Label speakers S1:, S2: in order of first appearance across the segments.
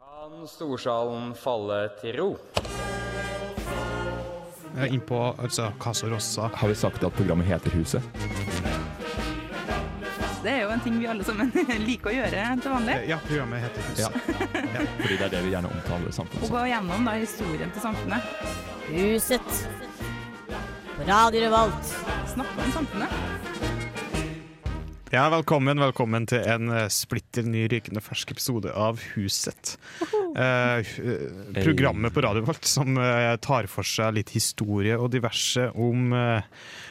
S1: kan storsalen falle til ro.
S2: Eh, Innpå altså, Casa Rossa.
S3: Har vi sagt at programmet heter Huset?
S4: Det er jo en ting vi alle sammen liker å gjøre til vanlig.
S2: Eh, Ja, programmet heter Huset.
S3: Ja. Fordi det er det vi gjerne omtaler samfunnet
S4: Å
S3: som.
S4: gå gjennom da, historien til samfunnet.
S5: Huset. På Radio Revolt.
S4: Snakke om samfunnet.
S2: Ja, velkommen, velkommen til en eh, splitter ny, rykende fersk episode av Huset. Eh, hu- eh, programmet på Radio Volt som eh, tar for seg litt historie og diverse om eh,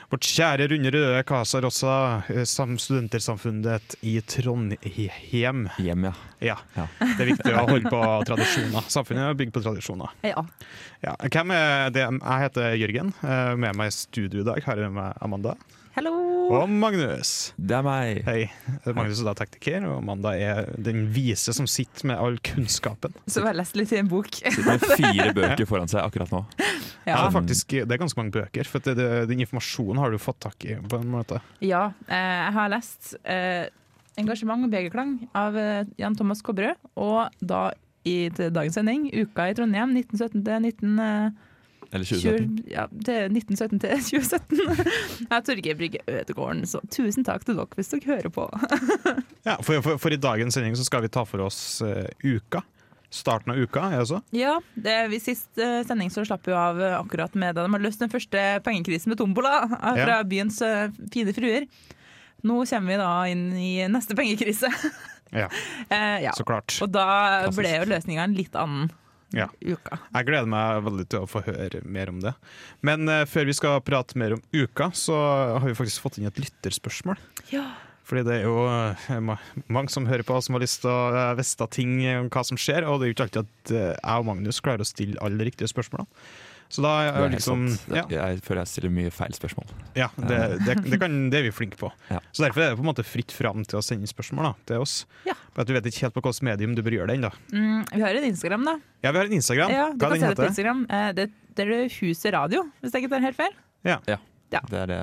S2: vårt kjære runde røde Casa Rossa, eh, sam studentersamfunnet i Trondheim.
S3: Hjem, ja.
S2: Ja,
S3: Ja.
S2: det er viktig å holde på tradisjoner. Samfunnet er bygd på tradisjoner.
S4: Ja.
S2: Ja, hvem er det? Jeg heter Jørgen. Eh, Med meg i studio i dag har jeg med Amanda
S4: Hallo!
S2: og Magnus.
S3: Det er meg.
S2: Hei. Magnus er da tekniker, og Amanda er den vise som sitter med all kunnskapen.
S4: Så har jeg lest litt i en bok.
S3: Sitter med fire bøker foran seg akkurat nå.
S2: Det,
S4: Ja.
S2: er Altså, faktisk, det er ganske mange bøker, for at det, det, den informasjonen har du fått tak i. på en måte.
S4: ja eh, jeg har lest eh, 'Engasjement og begerklang' av eh, Jan Thomas Kobberød. Og da i til dagens sending, uka i Trondheim 1917 til 19... Eh,
S3: Eller 2017.
S4: 20, ja, det er 1917 til 2017. Jeg er Torgeir Brygge Ødegården, så tusen takk til dere hvis dere hører på.
S2: Ja, for, for, for i dagens sending så skal vi ta for oss eh, uka. Starten av uka, er det så?
S4: Ja, det, vi Sist eh, sending så slapp vi jo av eh, akkurat med da de har løst den første pengekrisen med tombola eh, fra
S2: Ja.
S4: byens eh, fine fruer. Nå kommer vi da inn i neste pengekrise.
S2: Ja,
S4: Eh, ja.
S2: så klart.
S4: Og da
S2: Klassisk.
S4: ble jo løsninga en litt annen
S2: Ja.
S4: uka.
S2: Jeg gleder meg veldig til å få høre mer om det. Men eh, før vi skal prate mer om uka, så har vi faktisk fått inn et lytterspørsmål.
S4: Ja.
S2: Fordi det er jo eh, ma- mange som hører på, som har lyst til å eh, vite ting om hva som skjer. Og det er jo ikke alltid at eh, jeg og Magnus klarer å stille alle de riktige spørsmålene. Så da er
S3: Det er
S2: jeg
S3: helt
S2: liksom
S3: sant.
S2: Ja,
S3: Jeg føler jeg stiller mye feil spørsmål.
S2: ja det, det, det, kan, det er vi flinke på.
S3: Ja.
S2: Så derfor er det på en måte fritt fram til å sende spørsmål da, til oss.
S4: Ja.
S2: For at du vet ikke helt på hvilket medium du bør gjøre det ennå.
S4: Mm, vi har en Instagram, da.
S2: Ja, vi har en Instagram.
S4: Ja, du
S2: hva
S4: kan
S2: den
S4: se det på
S2: heter
S4: Instagram. Eh, det, det er Huset Radio, hvis jeg ikke tar helt feil.
S3: Det er, det,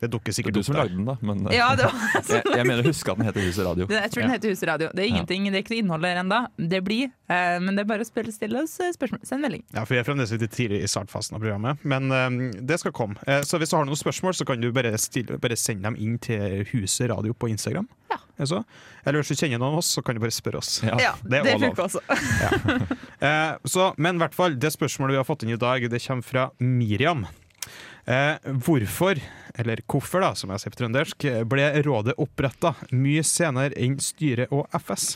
S2: Det dukker
S3: det er
S2: sikkert
S3: du
S2: opp
S3: som
S2: der.
S3: lagde den, da. Men eh,
S4: Ja, det var
S3: jeg, jeg mener å huske at den heter Huset Radio.
S4: Det, jeg tror den
S2: Ja.
S4: heter Husradio. Det er ingenting, det er ikke noe innhold der ennå. Det blir. eh, men det er bare å spille stille oss eh, spørsmål. Send melding.
S2: Ja, for Vi er fremdeles litt tidlig i startfasen av programmet, men eh, det skal komme. Eh, så Hvis du har noen spørsmål, så kan du bare, stille, bare sende dem inn til Huset Radio på Instagram.
S4: Ja.
S2: Er det så? Eller hvis du kjenner noen av oss, så kan du bare spørre oss.
S3: Ja.
S2: det er også lov.
S4: funker også.
S2: Eh, så, men i hvert fall, det spørsmålet vi har fått inn i dag, det kommer fra Miriam. Eh, hvorfor, eller hvorfor da, som jeg sier på trøndersk, ble rådet oppretta mye senere enn styret og FS?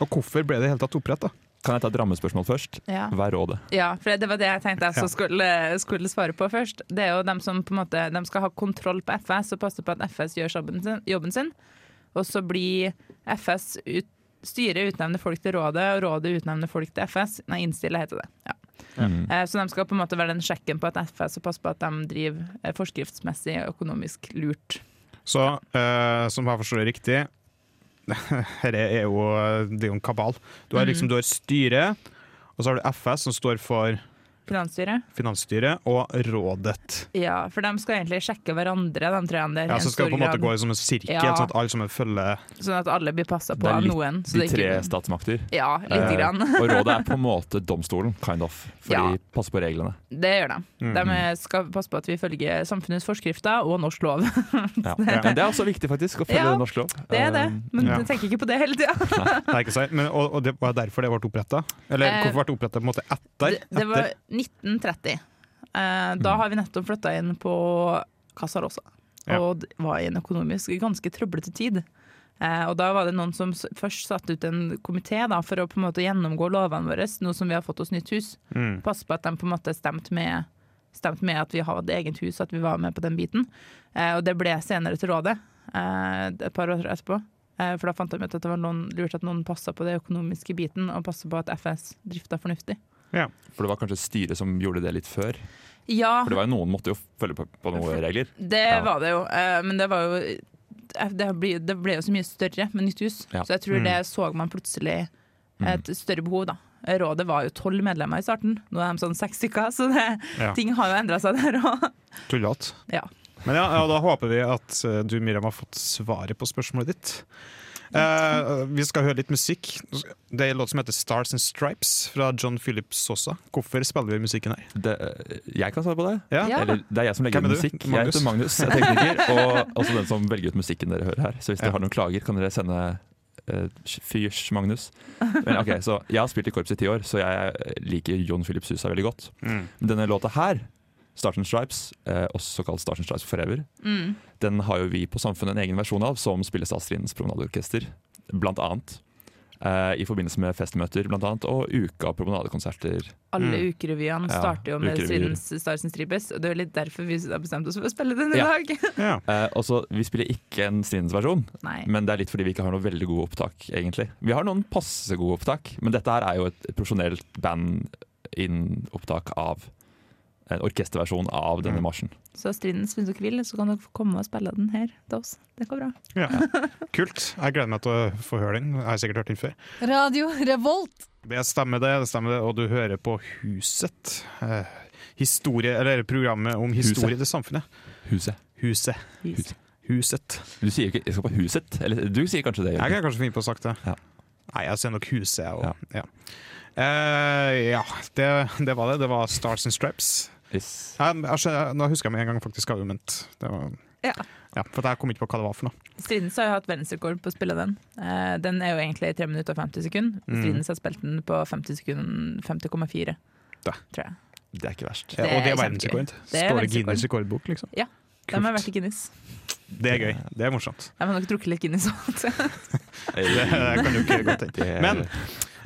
S2: Og hvorfor ble det i det hele tatt oppretta?
S3: Kan jeg ta et rammespørsmål først?
S4: Ja.
S3: Hva er rådet?
S4: ja, for det var det jeg tenkte jeg så skulle, skulle svare på først. Det er jo dem som på en måte dem skal ha kontroll på FS og passe på at FS gjør jobben sin. Jobben sin. Og så blir FS ut, Styret utnevner folk til rådet, og rådet utnevner folk til FS. Nei, innstille heter det. Ja.
S3: Mm.
S4: Eh, Så de skal på en måte være den sjekken på at FS og passe på at de driver eh, forskriftsmessig økonomisk lurt.
S2: Så, eh, som jeg forstår det riktig Dette er jo Det er jo en kabal. Du har
S4: Mhm.
S2: liksom du har styret, og så har du FS, som står for
S4: Finansstyret.
S2: Finansstyret, og rådet.
S4: Ja, for de skal egentlig sjekke hverandre, de trærne der. i
S2: Ja,
S4: en
S2: Så skal det
S4: stor
S2: på en måte
S4: grad,
S2: gå i som en sirkel,
S4: Ja.
S2: sånn at alle sammen følger
S4: Sånn at alle blir passa på
S3: Det er
S4: av
S3: litt-
S4: noen. så
S3: De
S4: det
S3: tre
S4: ikke-
S3: statsmakter.
S4: Ja, lite
S3: Eh,
S4: grann.
S3: Og rådet er på en måte domstolen, kind of. For
S4: Ja.
S3: de passer på reglene.
S4: Det gjør de. De skal passe på at vi følger samfunnets forskrifter og norsk lov.
S3: Ja. Men det er også viktig faktisk å følge
S4: Ja,
S3: norsk lov.
S4: Det er det,
S3: Eh,
S4: men
S2: Ja.
S4: jeg tenker ikke på det hele tida.
S2: Det er ikke seg. Men, og, og det var derfor det ble oppretta? Eller
S4: Eh,
S2: hvorfor ble det oppretta etter?
S4: Det, det var
S2: etter?
S4: 1930. Eh, da har vi nettopp flytta inn på Casa Rosa,
S2: Mm. Ja.
S4: og det var i en økonomisk ganske trøblete tid. Eh, og da var det noen som s- først satte ut en komité da, for å på en måte gjennomgå lovene våre, nå som vi har fått oss nytt hus.
S2: Mm.
S4: passe på at de på en måte stemte med, stemte med at vi hadde eget hus, at vi var med på den biten. Eh, og det ble senere til rådet, eh, et par år etterpå. Eh, for da fant de ut at det var noen, lurt at noen passa på det økonomiske biten, og passa på at FS drifta fornuftig.
S3: For det var kanskje styret som gjorde det litt før.
S4: Ja,
S3: For det var jo noen måtte jo følge på, på noen regler.
S4: det
S3: Ja.
S4: var det jo, eh, men det var jo eh, det ble, det ble jo så mye større med nytt hus,
S3: Ja. Mm.
S4: så jeg tror det så man plutselig et større behov, da. Rådet var jo tolv medlemmer i starten, nå er de sånn seks stykker, så det,
S2: Ja.
S4: ting har jo endra seg der òg.
S2: Tullete.
S4: Ja.
S2: Men ja, ja, da håper vi at eh, du, Miriam, har fått svaret på spørsmålet ditt. Eh, vi skal høre litt musikk. Det er en låt som heter 'Stars and Stripes' fra John Philip Sosa. Hvorfor spiller vi musikken her?
S3: Det, eh, jeg kan svare på det.
S2: Ja,
S4: Ja.
S3: Eller, det er jeg som legger
S2: Hvem er
S3: ut
S2: du?
S3: musikk. Jeg
S2: Magnus?
S3: heter Magnus, jeg er tekniker. Og også den som velger ut musikken dere hører her. Så hvis dere
S2: Ja.
S3: har noen klager, kan dere sende eh, Fyrs Magnus. Men ok, så Jeg har spilt i korps i ti år, så jeg liker John Philip Susa veldig godt.
S2: Mm.
S3: Men denne låta her, 'Stars and Stripes', eh, også kalt 'Stars and Stripes Forever',
S4: Mm.
S3: den har jo vi på Samfunnet en egen versjon av, som spilles av Strindens Promenadeorkester, blant annet. eh, I forbindelse med festmøter blant annet, og uka promenadekonserter.
S4: Alle
S2: Mm.
S4: ukerevyene
S3: Ja,
S4: starter jo med
S3: ukerevyer.
S4: Strindens Stars and Stripes, og det er jo litt derfor vi har bestemt oss for å spille den i
S3: Ja.
S4: dag.
S2: Ja.
S3: Eh, og så, Vi spiller ikke en Strindens versjon,
S4: Nei.
S3: men det er litt fordi vi ikke har noe veldig gode opptak. egentlig. Vi har noen passe gode opptak, men dette her er jo et profesjonelt band innen opptak av en orkesterversjon av denne
S2: Mm.
S3: marsjen.
S4: Så Strindens, hvis dere vil, så kan dere få komme og spille den her til oss. Det går bra.
S2: Ja. Kult. Jeg gleder meg til å få høre den. Jeg har sikkert hørt den før.
S6: Radio Revolt.
S2: Det stemmer, det. det stemmer det. Og du hører på Huset. Eh, historie, eller programmet om historie til samfunnet.
S3: Huset.
S2: Huset.
S4: Yes.
S2: Huset.
S3: Du sier jo ikke 'jeg skal på Huset'? Eller du sier kanskje det?
S2: Jeg
S3: Jørgen.
S2: kan kanskje finne på å sagt det.
S3: Ja.
S2: Nei, jeg ser nok Huset, jeg òg. Ja. Eh, ja, det, det var det. Det var Stars and Straps.
S3: Yes.
S2: Jeg, jeg, skjønner- altså, nå husker jeg med en gang faktisk hva du mente. Det var-
S4: Ja.
S2: Ja, for jeg kom ikke på hva det var for noe.
S4: Strindens har jo hatt verdensrekord på å spille den. Eh, den er jo egentlig 3 minutter og 50 sekunder.
S2: Mm.
S4: Strindens har spilt den på 50 sekunder, 50,4.
S2: Da.
S4: Tror jeg.
S3: Det er ikke verst.
S2: Ja, og det er
S4: kjempegøy.
S2: verdensrekord.
S4: Det er
S2: Står det
S4: verdensrekord.
S2: Guinness rekordbok, liksom?
S4: Ja, De har vært i Guinness.
S2: Det er gøy. Det er morsomt.
S4: De har nok drukket litt Guinness også.
S2: Det, det kan du ikke godt tenke.
S3: Det-
S2: Men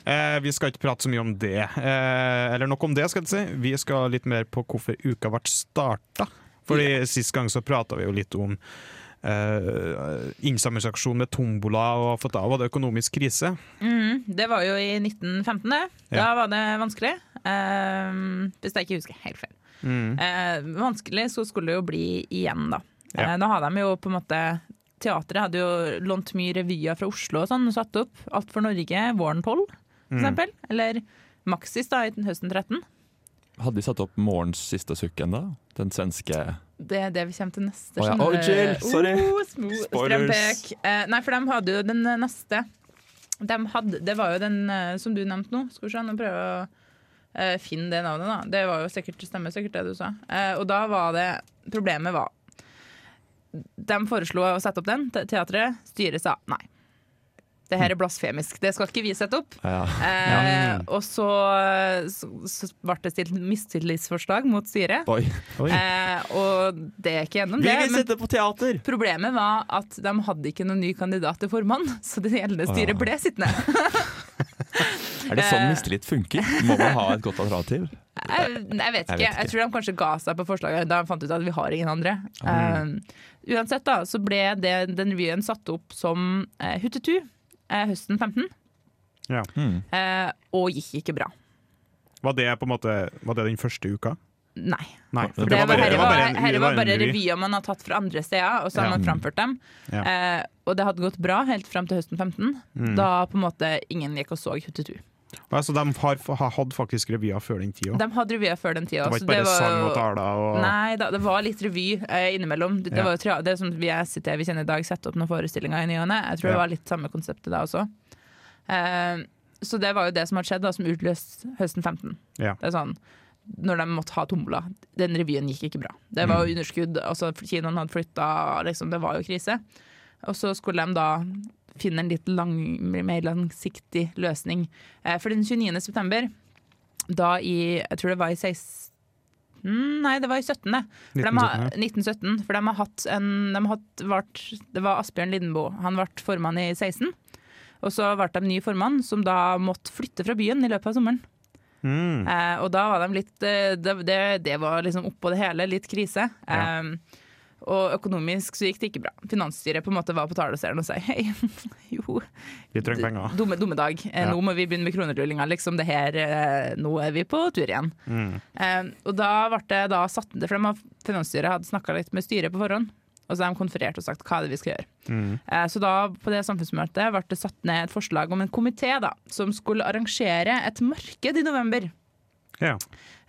S2: Eh, vi skal ikke prate så mye om det. Eh, eller nok om det, skal jeg si. Vi skal litt mer på hvorfor uka ble starta. Fordi sist gang så prata vi jo litt om eh, innsamlingsaksjon med tombola, og for da var det økonomisk krise.
S4: Mm, det var jo i 1915, det. Da
S2: Ja.
S4: var det vanskelig. Eh, hvis jeg ikke husker helt feil.
S2: Mm.
S4: Eh, vanskelig så skulle det jo bli igjen, da.
S2: Ja.
S4: Eh, nå har de jo på en måte Teatret hadde jo lånt mye revyer fra Oslo og sånn, og satt opp Alt for Norge våren 12,
S2: Mm.
S4: for eksempel. Eller Maxis da, i høsten 13.
S3: Hadde de satt opp 'Morgens siste sukk' ennå? Den svenske
S4: Det er det vi kommer til neste.
S3: Å ja.
S4: skjønner
S3: Oi,
S4: du.
S3: Jill, sorry.
S4: Oh, smo-
S3: Spoilers.
S4: strømpek. Eh, nei, for de hadde jo den eh, neste. De hadde, det var jo den eh, som du nevnte nå. Skal vi se, nå prøver jeg å eh, finne det navnet. da. Det var jo sikkert, stemmer sikkert det du sa. Eh, og da var det Problemet var De foreslo å sette opp den. Te- Teatret, styret sa nei. Det her er blasfemisk. Det skal ikke vi sette opp.
S3: ja.
S4: Eh, og så, så, så ble det stilt mistillitsforslag mot styret.
S3: Oi.
S4: Eh, og det er ikke gjennom det. Men
S3: på teater!
S4: problemet var at de hadde ikke noen ny kandidat til formann, så det gjeldende styret ble sittende.
S3: Er det
S4: Eh.
S3: sånn mistillit funker? Må man ha et godt alternativ?
S4: Jeg, jeg vet ikke.
S3: ikke.
S4: Jeg tror de kanskje ga seg på forslaget da de fant ut at vi har ingen andre. Eh, uansett da, så ble det, den revyen satt opp som eh, Huttetu eh, høsten 15,
S2: Ja.
S4: eh, og gikk ikke bra.
S2: Mm. Var det på en måte Var det den første uka?
S4: Nei.
S2: Nei.
S3: Det
S4: Det var,
S3: bare-
S4: her
S3: det
S4: var,
S2: bare en-
S4: her
S2: det
S4: var
S2: en
S4: bare
S2: revy.
S4: revyer man har tatt fra andre steder, og så har
S2: Ja.
S4: man framført dem.
S2: Ja.
S4: Eh, og det hadde gått bra helt fram til høsten 15, da på en måte ingen gikk og så Huttetu.
S2: Ja, så altså, de har, har hatt faktisk revyer før den tida.
S4: De hadde revyer før den tida.
S2: Det var
S4: så
S2: ikke bare sang
S4: jo-
S2: og taler og
S4: altså, Nei da, det var litt revy eh, innimellom. Det, det,
S2: Ja.
S4: var jo trea- det som vi er, sitter, vi kjenner i dag, setter opp noen forestillinger i ny og ne. Jeg tror
S2: Ja.
S4: det var litt samme konseptet da også. Eh, så det var jo det som hadde skjedd, da, som utløste høsten 15.
S2: Ja.
S4: Det er sånn, når de måtte ha tombola. Den revyen gikk ikke bra. Det var
S2: Mm.
S4: jo underskudd, altså kinoen hadde flytta, liksom, det var jo krise. Og så skulle de da finne en litt lang, mer langsiktig løsning. Eh, For den 29. september, da i Jeg tror det var i 16... Nei, det var i 17. For de har, 1917. For de har hatt en de har hatt, vart, Det var Asbjørn Lindboe. Han ble formann i 16. Og så ble de ny formann, som da måtte flytte fra byen i løpet av sommeren.
S2: Mm.
S4: Eh, og da var de litt eh, det, det, det var liksom oppå det hele, litt krise.
S2: Ja.
S4: Eh, og økonomisk så gikk det ikke bra. Finansstyret på en måte var på talerstolen og sa hei, jo,
S2: Vi trenger penger.
S4: dumme, dumme dag. Eh,
S2: Ja.
S4: Nå må vi begynne med kronerullinga, liksom. Det her, eh, nå er vi på tur igjen.
S2: Mm.
S4: Eh, og da ble det da satt ned, for de har- finansstyret hadde snakka litt med styret på forhånd. Og så har de konferert og sagt hva er det vi skal gjøre.
S2: Mm.
S4: Eh, Så da på det samfunnsmøtet ble det satt ned et forslag om en komité da, som skulle arrangere et marked i november
S2: Ja.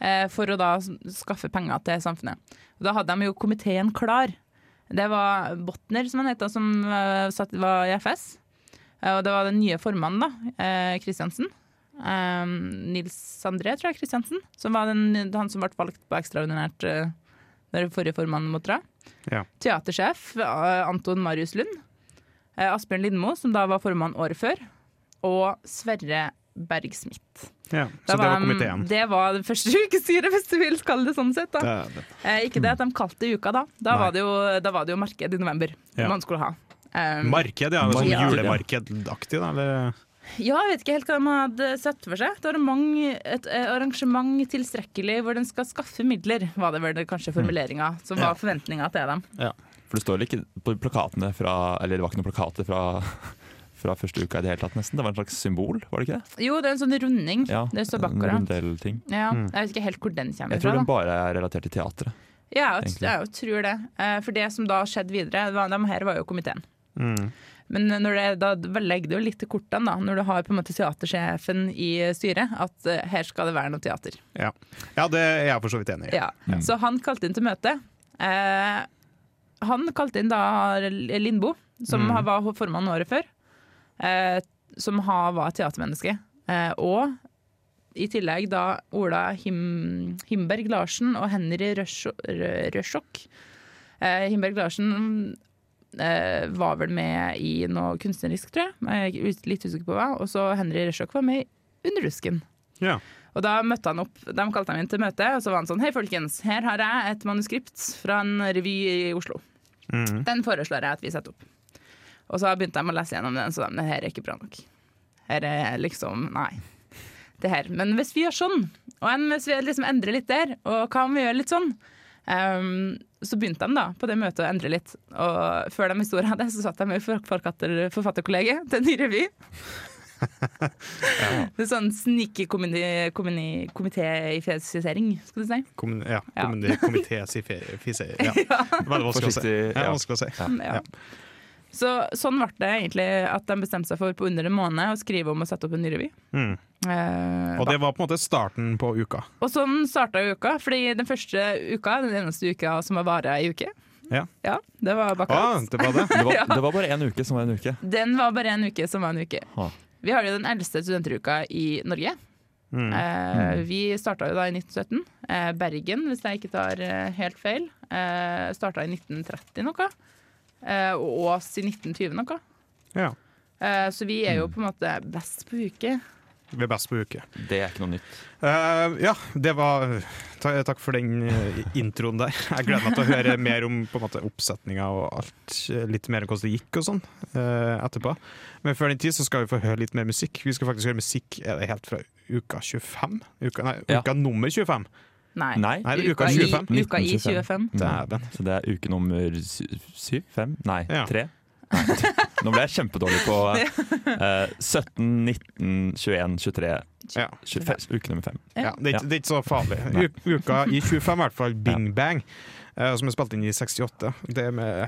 S4: eh, for å da skaffe penger til samfunnet. Og da hadde de jo komiteen klar. Det var Botner, som han het, da, som eh, satt, var i FS. Eh, Og det var den nye formannen, da, eh, Kristiansen. Eh, Nils André, tror jeg, Kristiansen. Som var den, han som ble valgt på ekstraordinært eh, når forrige formann måtte dra.
S2: Ja.
S4: Teatersjef eh, Anton Marius Lund. Eh, Asbjørn Lindmo, som da var formann året før. Og Sverre Berg-Smith.
S2: Ja,
S4: Da
S2: så det var
S4: de-
S2: komiteen.
S4: Det var den første ukestyret, hvis du vil kalle det sånn sett. da.
S2: Det er det.
S4: Eh, ikke det at de kalte det uka da. Da
S2: Nei.
S4: var, det jo, da var det jo marked i november
S2: Ja.
S4: man skulle ha. Um,
S2: Marked, ja. Sånn
S3: Marked, ja.
S2: julemarkedaktig, da. Eller?
S4: ja, jeg vet ikke helt hva de hadde sett for seg. Et arrangement, et eh, arrangement tilstrekkelig hvor den skal skaffe midler, var det vel det kanskje formuleringa som
S2: Mm. Ja.
S4: var forventninga til dem.
S3: For det står vel ikke på plakatene fra Eller det var ikke noen plakater fra, fra første uka i det hele tatt, nesten. Det var en slags symbol, var det ikke det?
S4: Jo, det er en sånn runding.
S3: Ja,
S4: det står
S3: en
S4: bakover. da.
S3: rundellting.
S4: Ja,
S2: Mm.
S4: jeg vet ikke helt hvor den kommer
S3: Jeg tror
S4: fra.
S3: den
S4: da.
S3: bare er relatert til teatret.
S4: Ja, jeg,
S3: egentlig.
S4: jeg tror det. Eh, For det som da skjedde videre, det var, de her var jo komiteen.
S2: Mm.
S4: Men når det, da legger du jo litt til kortene, da, når du har på en måte teatersjefen i styret, at eh, her skal det være noe teater.
S2: Ja. ja, det er jeg for så vidt enig i.
S4: Ja. Så han kalte inn til møte. Eh, han kalte inn da Lindbo, som har- var formann året før, eh, som har, var teatermenneske. Eh, og i tillegg da Ola Him, Himberg Larsen og Henry Røsjo- Rø- Røsjok. Eh, Himberg Larsen eh, var vel med i noe kunstnerisk, tror jeg. Jeg er ut- litt usikker på hva. Og så Henry Røsjok var med i Underdusken.
S2: Ja.
S4: Og da møtte han opp, de kalte han inn til møte, og så var han sånn Hei, folkens, her har jeg et manuskript fra en revy i Oslo.
S2: Mhm.
S4: Den foreslår jeg at vi setter opp. Og så begynte de å lese gjennom den, så de det her er ikke bra nok. Her er liksom Nei. Det her. Men hvis vi gjør sånn, og en, hvis vi liksom endrer litt der, og hva om vi gjør litt sånn? Ehm, så begynte de da på det møtet å endre litt. Og før de visste ordet av det, så satt de med for- forfatter, forfatterkollegiet til en ny revy. Det er sånn snikkomité-ifisering, skal du si.
S2: Kommun, ja.
S4: Ja.
S2: Kommune- Komitésifisering. Ja. Veldig vanskelig å si.
S3: Forsiktig,
S2: Ja,
S3: ja.
S2: vanskelig å si.
S4: Ja. Så, sånn ble det egentlig at de bestemte seg for på under en måned å skrive om å sette opp en ny revy.
S2: Mm.
S4: Eh,
S2: Og det var på en måte starten på uka.
S4: og sånn starta jo uka, fordi den første uka, den eneste uka som har vara i uke,
S2: Ja.
S4: ja, det var
S2: Ah,
S4: Bakkans.
S2: det var det.
S3: Det var, det var bare én uke som var en uke.
S4: Den var bare en uke som var en uke.
S3: Ah.
S4: Vi har jo den eldste studenteruka i Norge. Eh, vi starta jo da i 1917. Eh, Bergen, hvis jeg ikke tar eh, helt feil, eh, starta i 1930 noe. Eh, og Ås i 1920 noe.
S2: Ja.
S4: Eh, så vi er jo på en måte best på uke.
S2: Vi er best på uke.
S3: Det er ikke noe nytt.
S2: Eh, ja, det var ta, Takk for den eh, introen der. Jeg gleder meg til å høre mer om på en måte, oppsetninga og alt. eh, Litt mer om hvordan det gikk og sånn eh, etterpå. Men før den tid så skal vi få høre litt mer musikk. Vi skal faktisk høre musikk er det helt fra uka 25? Uka, nei,
S3: Ja.
S2: uka nummer 25.
S4: Nei.
S3: Nei.
S2: Nei, det er uka
S4: i-
S2: 25.
S4: Uka i 25.
S2: Dæven.
S3: Mm. Så det er uke nummer sy- syv? Fem? Nei,
S2: Ja.
S3: tre? Nei. Nå ble jeg kjempedårlig på eh, 17, 19, 21, 23,
S2: Ja.
S3: 25, uke nummer fem.
S2: Ja, det, er, ikke- det er ikke så farlig.
S3: Nei.
S2: U uka i 25, i hvert fall. Bing Bang, eh, som er spilt inn i 68. Det er med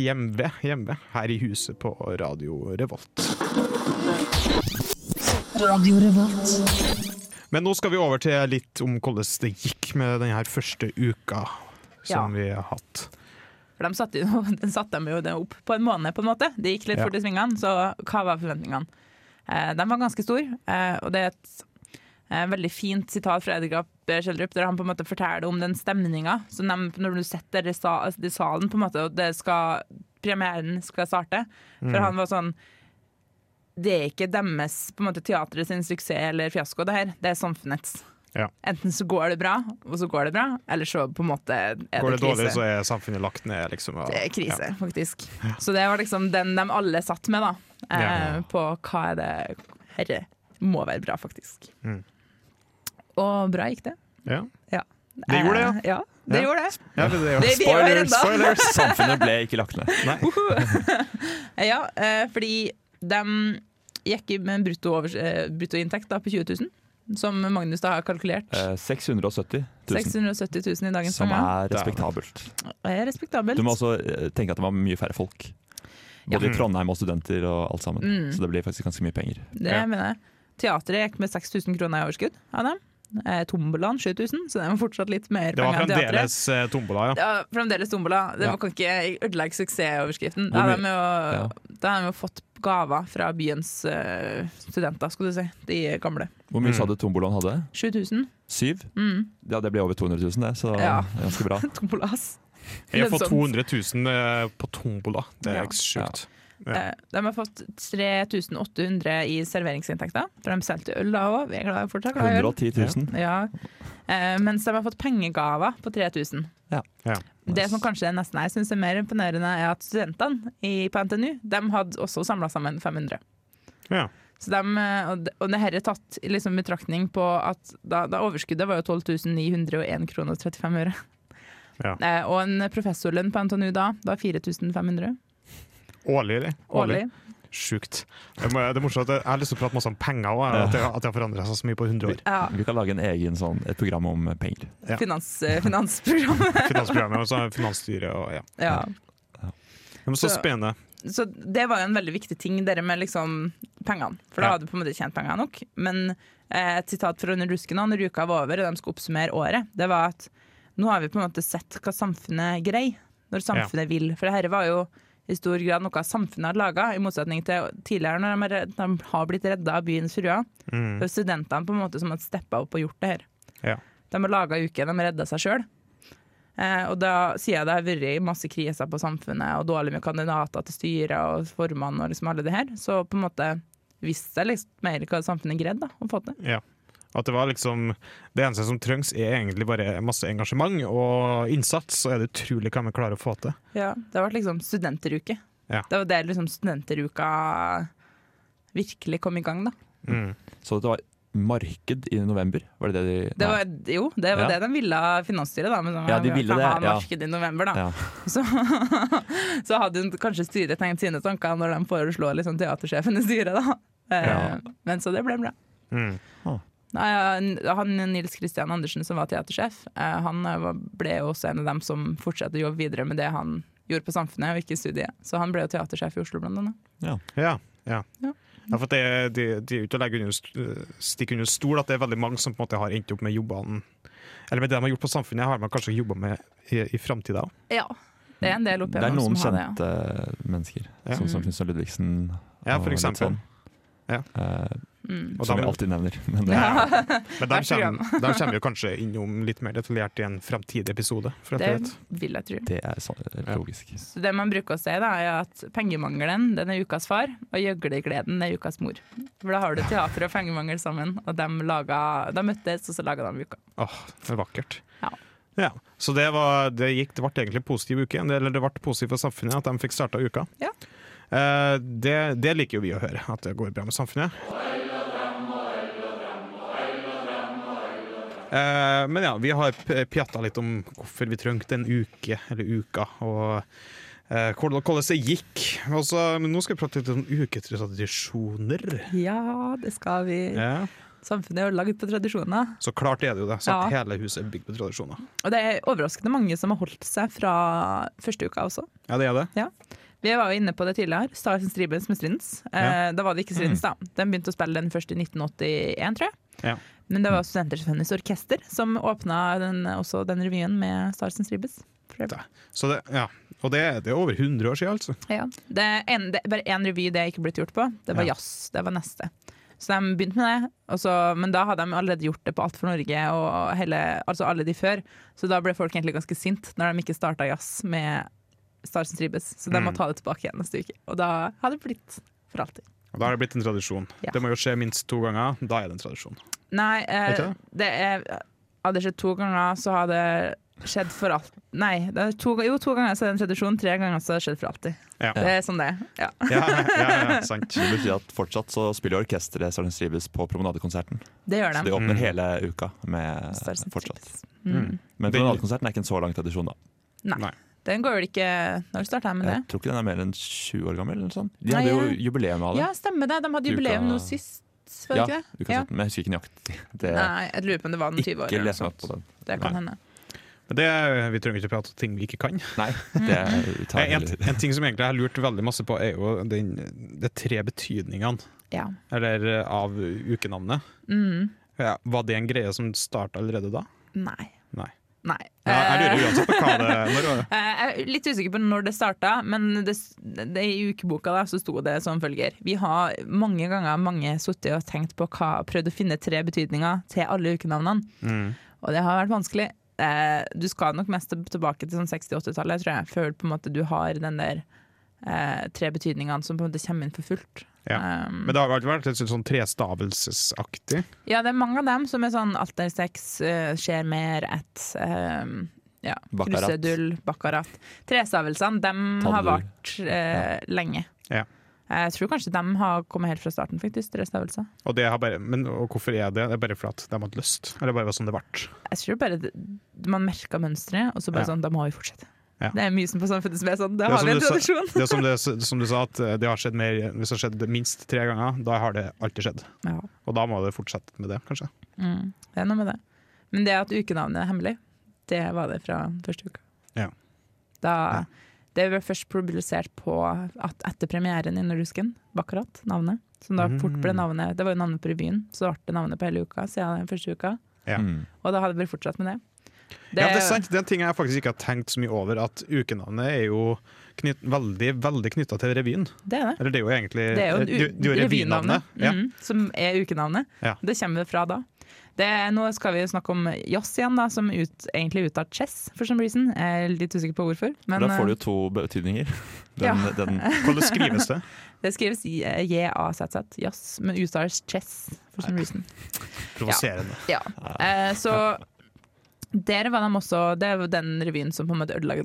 S2: hjemme, hjemme her i huset på Radio Revolt.
S6: Radio Revolt.
S2: Men nå skal vi over til litt om hvordan det gikk med denne her første uka som
S4: Ja.
S2: vi har hatt.
S4: For de satte, jo, den satte dem jo det opp på en måned, på en måte. Det gikk litt
S2: Ja.
S4: fort i svingene, så hva var forventningene? Eh, de var ganske store, eh, og det er et eh, veldig fint sitat fra Edgar B. Schjelderup, der han på en måte forteller om den stemninga som de, når du sitter i, sa, i salen, på en måte, og det skal, premieren skal starte. For
S2: Mm.
S4: han var sånn Det er ikke deres på en måte, teatret sin suksess eller fiasko, det her. Det er samfunnets.
S2: Ja.
S4: Enten så går det bra, og så går det bra, eller så på en måte er det,
S2: Går det
S4: krise.
S2: dårlig, så er samfunnet lagt ned. Liksom, og,
S4: Det er krise, faktisk. Så det var liksom den de alle satt med, da. Eh,
S2: Ja.
S4: På hva er det Herre må være bra, faktisk.
S2: Mm.
S4: Og bra gikk det.
S2: Ja. Ja.
S4: Ja.
S2: Det gjorde det, ja.
S4: Eh, ja. Det
S2: Ja.
S4: gjorde det.
S2: Ja, det,
S4: Det vi gjør ennå.
S3: spoilers! Samfunnet ble ikke lagt ned.
S4: Eh, Ja, eh, fordi de gikk med en brutto overs- eh, bruttoinntekt da, på 20 000, som Magnus da har kalkulert.
S3: Eh, 670 000,
S4: 670 000 i dagens
S3: som
S4: penger.
S3: er respektabelt.
S4: Det er respektabelt.
S3: Du må også eh, tenke at det var mye færre folk. Både i Trondheim og studenter og alt sammen.
S4: Mm.
S3: Så det blir faktisk ganske mye penger.
S4: Det
S2: Ja.
S4: mener jeg. Teatret gikk med 6000 kroner i overskudd av dem. Eh, Tombolaen 7000, så det var fortsatt litt mer
S2: det var
S4: penger enn teatret.
S2: fremdeles eh, tombola, ja.
S4: Ja, fremdeles tombola. Det
S2: Ja.
S4: kan ikke ødelegge suksessoverskriften.
S3: Hvor
S4: Ja,
S3: mye-
S4: de er jo, studenter har jo fått gaver fra byens eh, studenter, skulle du si. De gamle.
S3: Hvor mye
S2: Mm.
S3: sa du Tombolaen hadde?
S4: 7000.
S3: Syv?
S4: Mm.
S3: Ja, det ble over 200 000, det, så
S4: Ja.
S3: det er ganske bra.
S4: Tombolas.
S2: Jeg har fått
S4: Lønnsomt.
S2: 200 000 eh, på tombola. Det er
S4: Ja.
S2: ikke sjukt. Ja.
S4: Eh, De har fått 3800 i serveringsinntekter, for de solgte øl da òg. Vi er glad, fortsatt glad i øl.
S3: 110 000.
S4: Ja. Eh, mens de har fått pengegaver på 3000.
S2: Ja.
S4: Det som kanskje nesten jeg syns er mer imponerende, er at studentene i, på NTNU de hadde også samla sammen 500.
S2: Ja.
S4: Så dem, eh, og det- og det her er tatt i liksom betraktning på at da, da overskuddet var jo 12 901 kroner og 35 øre.
S2: Ja.
S4: Eh, og en professorlønn på NTNU da var 4500
S2: Årlig, eller?
S4: årlig.
S2: Sjukt. Det må- det er morsomt at jeg jeg har lyst til å prate masse om penger òg, at, jeg- at jeg har forandra seg så mye på 100 år.
S4: Ja,
S3: Vi kan lage en egen sånn, et program om penger.
S2: Ja.
S4: finans, eh, finansprogrammet.
S2: Finansprogrammet og så finansstyret og ja.
S4: ja.
S2: Men så
S4: Så-
S2: spennende.
S4: Så det var jo en veldig viktig ting, dere med liksom pengene. For da
S2: Ja.
S4: hadde du på en måte tjent penger nok. Men eh, et sitat fra Under rusken da når uka var over og de skulle oppsummere året, det var at nå har vi på en måte sett hva samfunnet greier, når samfunnet vil. For det dette var jo i stor grad noe samfunnet hadde laga, i motsetning til tidligere, når de, er redd- de har blitt redda av byens fruer. Det var studentene på en måte som hadde steppa opp og gjort det her.
S2: Mm. Ja.
S4: De har laga uken, de har redda seg sjøl. Eh, og da sier jeg det har vært masse kriser på samfunnet og dårlig med kandidater til styret og formann og liksom alle det her, så på en måte visste jeg liksom mer hva samfunnet greide da, å få til.
S2: ja. At det var liksom Det eneste som trengs, er egentlig bare masse engasjement og innsats, så er det utrolig hva vi klarer å få til.
S4: Ja, det har vært liksom studenteruke.
S2: Ja.
S4: Det var der liksom studenteruka virkelig kom i gang, da.
S2: Mm.
S3: Så det var marked i november, var det det de
S4: Det var,
S3: Nei.
S4: jo, det var
S3: Ja.
S4: det de ville av finansstyret, da. sånn Men så,
S3: Ja, de ville
S4: kan
S3: det,
S4: ha
S3: ja.
S4: marked i november, da.
S3: Ja.
S4: Så, så hadde hun kanskje styret tenkt sine tanker når de foreslo liksom teatersjefen i styret, da. Eh,
S3: Ja.
S4: Men så det ble bra.
S2: Mm.
S4: Nei, ja, han Nils Kristian Andersen, som var teatersjef, eh, han eh, var- ble jo også en av dem som fortsatte å jobbe videre med det han gjorde på Samfunnet, og ikke studiet. Så han ble jo teatersjef i Oslo, blant annet.
S2: Ja. Ja.
S4: Ja.
S2: Ja, for det, det, det er jo ikke å legge under, st- stikke under stol at det er veldig mange som på en måte har endt opp med jobbene Eller med det de har gjort på samfunnet, har man kanskje jobba med i, i framtida òg.
S4: Ja, det er en del oppe
S3: Det er noen
S4: som har det. Mm.
S3: kjente mennesker,
S2: Ja.
S3: sånn som Knutsen Ludvigsen.
S2: Ja,
S3: og
S2: for
S3: litt
S2: eksempel.
S3: sånn,
S2: Ja.
S3: eh,
S4: Ja. Mm.
S2: Og
S3: som vi
S2: dem-
S3: alltid nevner. Men det,
S4: Ja.
S2: Men de
S4: Hvert program.
S2: kommer, de kommer jo kanskje innom litt mer detaljert i en fremtidig episode. For alt
S4: Det
S2: jeg vet.
S4: vil jeg tro.
S3: det er sånn,
S2: Ja.
S3: logisk.
S4: Så det man bruker å si, da, er at pengemangelen den er ukas far, og gjøglegleden er ukas mor. For da har du teater og pengemangel sammen, og de, laga, de møttes, og så laga de uka.
S2: Åh, det er vakkert.
S4: Ja.
S2: Ja, Så det, var, det gikk, det ble egentlig en positiv uke, eller det ble positivt for samfunnet at de fikk starta uka.
S4: Ja.
S2: Eh, det, det liker jo vi å høre, at det går bra med samfunnet. Eh, men ja, vi har p- pjatta litt om hvorfor vi trengte en uke, eller uka, og eh, hvordan, hvordan det gikk. Og så- men nå skal vi prate litt om uketradisjoner.
S4: Ja, det skal vi.
S2: Ja.
S4: Samfunnet er jo lagd på tradisjoner.
S2: Så klart er det jo det. Så
S4: Ja.
S2: Hele huset er bygd på tradisjoner.
S4: Og det er overraskende mange som har holdt seg fra første uka også.
S2: Ja, det er det.
S4: Vi var jo inne på det tidligere. Stars and Stripes med Strindens. Eh, Da var det ikke Strindens, da. Den begynte å spille den først i 1981, tror jeg.
S2: Ja.
S4: Men det var Studenterforbundets orkester som åpna den, også den revyen med Stars and Stripes. For
S2: Da. Så det, ja. Og det, det er over 100 år siden, altså.
S4: Ja. Det er en, det, er bare én revy det ikke blitt gjort på. Det var
S2: Ja.
S4: jazz. Det var neste. Så de begynte med det, og så, men da hadde de allerede gjort det på Alt for Norge og hele, altså alle de før. Så da ble folk egentlig ganske sint når de ikke starta jazz med Stars and Stripes. Så de må
S2: Mm.
S4: ta det tilbake igjen neste uke. Og da har det blitt for alltid.
S2: Og da har det blitt en tradisjon.
S4: Ja.
S2: Det må jo skje minst to ganger. Da er det en tradisjon.
S4: Nei, eh,
S2: Ikke
S4: det er Hadde det skjedd to ganger, så har det skjedd for alt Nei, det er to, ga- jo, to ganger så er det en tradisjon. Tre ganger så har det skjedd for alltid.
S2: Ja.
S4: Det er sånn det er. Ja.
S2: Ja, ja, ja, sant.
S3: Det betyr at fortsatt så spiller orkesteret Sarnes Ribes på Promenadekonserten.
S4: Det gjør
S3: Så de
S4: de.
S2: Mm.
S3: åpner hele uka med
S4: Stars and
S3: eh, fortsatt.
S4: Stripes. Mm.
S3: Men
S2: Det-
S3: Promenadekonserten er ikke en så lang tradisjon, da.
S4: Den går vel ikke Når starta jeg med det?
S3: Jeg tror ikke den er mer enn 20 år gammel. eller sånn. De
S4: Nei,
S3: hadde jo
S4: jeg-
S3: jubileum av det.
S4: Ja, stemmer det. De hadde
S3: Uka-
S4: jubileum nå sist. Var det
S3: Ja,
S4: ikke det?
S3: uka 17, men jeg husker ikke nøyaktig. Det
S4: Nei, jeg lurer på om det var den 20 år.
S3: ikke
S4: eller
S3: les
S4: noe
S3: meg opp på den.
S4: sånt. Det kan
S2: Nei.
S4: hende.
S2: Men det, vi trenger ikke prate om ting vi ikke kan. Eh,
S3: Nei,
S4: Mm.
S3: det tar
S2: En,
S3: jeg
S2: en ting som egentlig jeg har lurt veldig masse på, er jo den, de tre betydningene
S4: Ja.
S2: eller, av ukenavnet.
S4: Mm.
S2: Ja, var det en greie som starta allerede da?
S4: Nei.
S2: Nei.
S4: Nei.
S2: Ja, jeg lurer uansett på hva det når, var det?
S4: Eh, Jeg er litt usikker på når det starta, men det, det, i ukeboka da, så sto det som følger. Vi har mange ganger mange sittet og tenkt på hva, prøvd å finne tre betydninger til alle ukenavnene, og det har vært vanskelig. Eh, Du skal nok mest tilbake til sånn 68-tallet, tror jeg, før på en måte du har den der eh, tre betydningene som på en måte kommer inn for fullt.
S2: Ja.
S4: Um,
S2: Men det har alltid vært litt sånn trestavelsesaktig.
S4: ja, det er mange av dem som er sånn altersex, uh, skjer mer, ett eh, ja,
S3: Baccarat.
S4: krusedull, bakkarat. Trestavelsene, dem har
S3: Tannhjul.
S4: vart eh, lenge.
S2: Ja.
S4: Jeg tror kanskje dem har kommet helt fra starten, faktisk, trestavelser.
S2: Og det har bare, men og hvorfor er det? Det er bare for at de hadde lyst. Eller bare var sånn det ble.
S4: Jeg tror bare det, man merka mønsteret, og så bare
S2: Ja.
S4: sånn, da må vi fortsette.
S2: Ja.
S4: Det er mye som på samfunnet som er sånn, da
S2: Det er
S4: har vi
S2: som
S4: en
S2: du sa-
S4: tradisjon.
S2: Det er som, det, som du sa, at det har skjedd mer, hvis det har skjedd minst tre ganger, da har det alltid skjedd.
S4: Ja,
S2: Og da må det fortsette med det, kanskje.
S4: mm, det er noe med det. Men det at ukenavnet er hemmelig, det var det fra første uka.
S2: Ja.
S4: Da, det ble først publisert på at etter premieren i Nordrusken, Bakkarat, navnet.
S2: Mhm.
S4: Som da fort ble navnet, det var jo navnet på revyen, så ble det navnet på hele uka siden den første uka.
S2: Ja.
S3: Mm.
S4: Og da hadde vi fortsatt med det.
S2: Ja, det er sant. Det er en ting jeg faktisk ikke har tenkt så mye over, at ukenavnet er jo knyt, veldig, veldig knytta til revyen.
S4: det er det.
S2: Eller det er jo egentlig
S4: Det er jo
S2: det-
S4: en
S2: det er jo revynavnet. Ja.
S4: mhm, som er ukenavnet.
S2: Ja.
S4: Det kommer fra da. Det, nå skal vi snakke om Joss igjen, da, som ut, egentlig uttar chess, for some reason. Jeg er litt usikker på hvorfor. Men eh,
S3: da får du jo to betydninger. Den,
S4: Ja.
S3: den,
S2: Hvordan skrives det?
S4: eh, det skrives eh, J-A-Z-Z, Joss, men uttales chess, for some reason.
S2: Provoserende.
S4: Ja. Eh, så der var de også Det er jo den revyen som på en måte ødela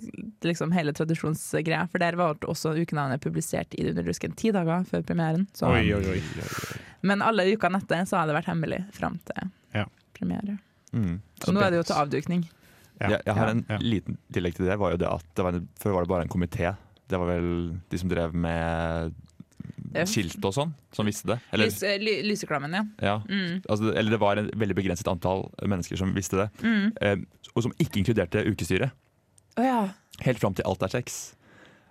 S4: liksom hele tradisjonsgreia. For der var det også ukenavnet publisert i Underdusken ti dager før premieren. Så,
S2: Oi, oi, oi.
S4: men alle ukene etter så har det vært hemmelig fram til
S2: Ja.
S4: premiere.
S3: mm.
S4: Så nå er det jo til avdukning.
S2: Ja.
S3: jeg, jeg har en
S2: Ja.
S3: liten tillegg til det. Var jo det at det var en, før var det bare en komité. Det var vel de som drev med
S4: Ja.
S3: skilt og sånn, som visste det. Eller,
S4: Lys, eh, ly, lyseklammen, ja.
S3: ja.
S4: Mm.
S3: altså, eller det var en veldig begrenset antall mennesker som visste det.
S4: Mm.
S3: Eh, og som ikke inkluderte ukestyret.
S4: Å ja.
S3: Helt fram til alt er sex.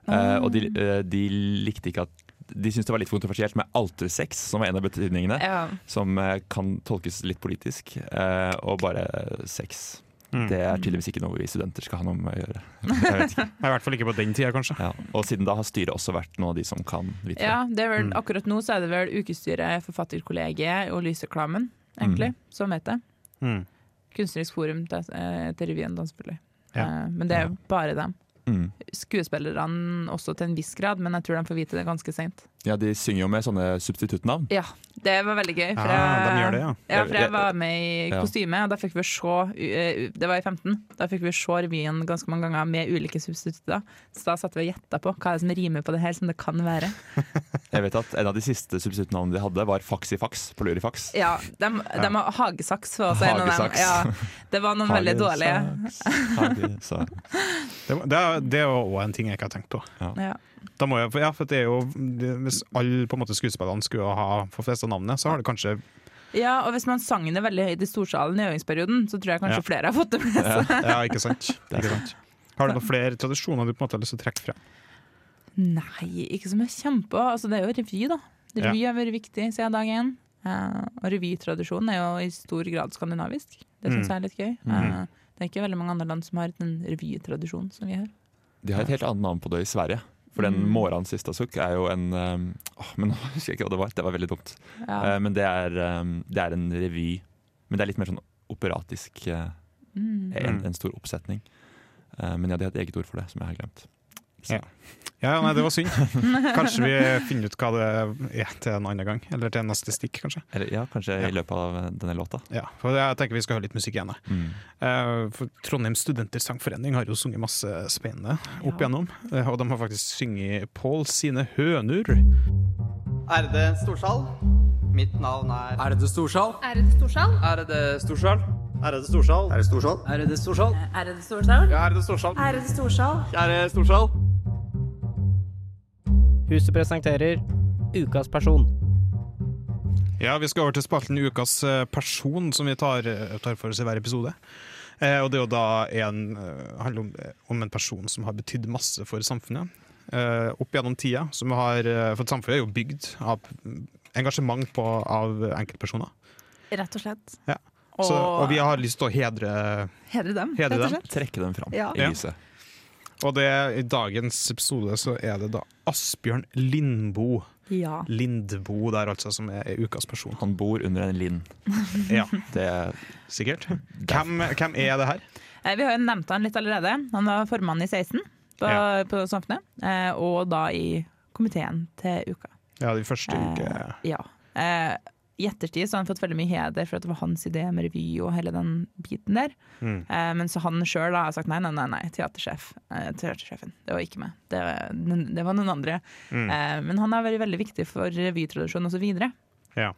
S4: Ah.
S3: Eh, og de, eh, de likte ikke at De syntes det var litt kontroversielt med altersex, som var en av betydningene.
S4: ja.
S3: Som eh, kan tolkes litt politisk. eh, og bare sex.
S2: Mm.
S3: Det er tydeligvis ikke noe vi studenter skal ha noe med å gjøre. Jeg vet ikke.
S2: I hvert fall ikke på den tida, kanskje.
S3: Ja. Og siden da har styret også vært noen av de som kan vite
S4: ja det er vel,
S2: Mm.
S4: akkurat nå så er det vel ukestyret, Forfatterkollegiet og Lyseklammen, egentlig, som heter det.
S2: Mm.
S4: Kunstnerisk forum til, eh, til revyen, da, selvfølgelig.
S2: Ja.
S4: Eh, Men det er jo bare
S3: det.
S4: dem.
S3: Mm.
S4: Skuespillerne også til en viss grad, men jeg tror de får vite det ganske seint.
S3: Ja, de synger jo med sånne substituttnavn.
S4: Ja, det var veldig gøy. For
S2: Ah, de gjør det,
S4: jeg,
S2: ja.
S4: ja, for jeg var med i
S3: Ja.
S4: kostyme, og da fikk vi se eh, Det var i 15. Da fikk vi se revyen ganske mange ganger med ulike substitutter. Så da satt vi og gjetta på hva er det som rimer på det her, som det kan være.
S3: Jeg vet at En av de siste substituttnavnene de hadde, var Faxifax på Lurifax.
S4: Ja, dem- dem har- Hagesaks var også en av dem.
S3: Hagesaks.
S4: Ja, det var noen veldig dårlige.
S3: dårlige.
S2: Det, det, er- det er jo òg en ting jeg ikke har tenkt på.
S4: Ja.
S2: Da må jeg, for, ja, for det er jo, det, hvis alle på en måte skuespillerne skulle ha forfesta navnet, så har det kanskje
S4: ja, og hvis man sang det veldig høyt i storsalen i øvingsperioden, så tror jeg
S2: Ja.
S4: kanskje flere har fått det med seg.
S2: Ja, ikke sant.
S3: Det er
S2: Ikke sant. Har du noen flere tradisjoner du på en måte har lyst til å trekke frem?
S4: Nei, ikke som jeg kjemper på. Altså, det er jo revy, da. Revy har vært viktig siden dag én. Eh, og revytradisjonen er jo i stor grad skandinavisk. Det syns
S2: Mm.
S4: jeg er litt gøy. Eh, det er ikke veldig mange andre land som har den revytradisjonen som vi har.
S3: De har et helt annet navn på det i Sverige. For den
S4: Mm.
S3: morgens siste sukk er jo en um, åh, Men nå husker jeg ikke hva det var. Det var veldig dumt.
S4: Ja.
S3: Eh, men det er, um, det er en revy. Men det er litt mer sånn operatisk. eh,
S4: Mm.
S3: en,
S2: Mm.
S3: en stor oppsetning. Eh, men ja, de har et eget ord for det, som jeg har glemt.
S2: Ja. Ja, nei, det var synd. Kanskje vi finner ut hva det er til en annen gang. Eller til neste stikk, kanskje.
S3: Eller ja, kanskje
S2: Ja.
S3: i løpet av eh, denne låta.
S2: Ja, for jeg tenker vi skal høre litt musikk igjen. da.
S3: Mm.
S2: Eh, For Trondheim Studenter Sangforening har jo sunget masse spennende opp
S4: Ja.
S2: igjennom. eh, Og de har faktisk sunget Pål sine høner.
S6: Ærede Storsal. Mitt navn er
S1: Er det Storsal?
S7: Ærede Storsal.
S1: Er det Storsal?
S6: Ærede Storsal. Ærede Storsal. Ærede Storsal.
S7: Ærede Storsal.
S6: Ærede Storsal.
S7: Ærede Storsal.
S6: Kjære Storsal.
S8: Huset presenterer Ukas person.
S2: Ja, vi skal over til spalten Ukas eh, person, som vi tar, eh, tar for oss i hver episode. Eh, og det er jo da en, eh, handler om, om en person som har betydd masse for samfunnet. Eh, opp gjennom tida. Som har, eh, for samfunnet er jo bygd av engasjement på, av enkeltpersoner.
S4: Rett og slett.
S2: Ja.
S4: Og,
S2: Så, og vi har lyst til å hedre,
S4: hedre dem,
S2: hedre
S4: rett og
S2: dem.
S4: slett.
S3: Trekke dem fram
S4: Ja.
S3: i lyset.
S2: Og det, i dagens episode så er det da Asbjørn Lindbo.
S4: Ja.
S2: Lindbo der, altså, som er ukas person.
S3: Han bor under en lind.
S2: Ja,
S3: Det,
S2: sikkert. Hvem, hvem er det her?
S4: Eh, Vi har jo nevnt han litt allerede. Han var formann i 16 på,
S2: Ja.
S4: på Samfunnet, eh, og da i komiteen til uka.
S2: Ja, de første uke
S4: Eh, Ja. Eh, I ettertid så har han fått veldig mye heder for at det var hans idé med revy og hele den biten der.
S2: Mm.
S4: Eh, men så han sjøl har sagt nei, nei, nei, nei teatersjef. Eh, teatersjefen. Det var ikke meg. Det, det var noen andre.
S2: Mm.
S4: Eh, men han har vært veldig viktig for revytradisjonen osv.
S2: Ja.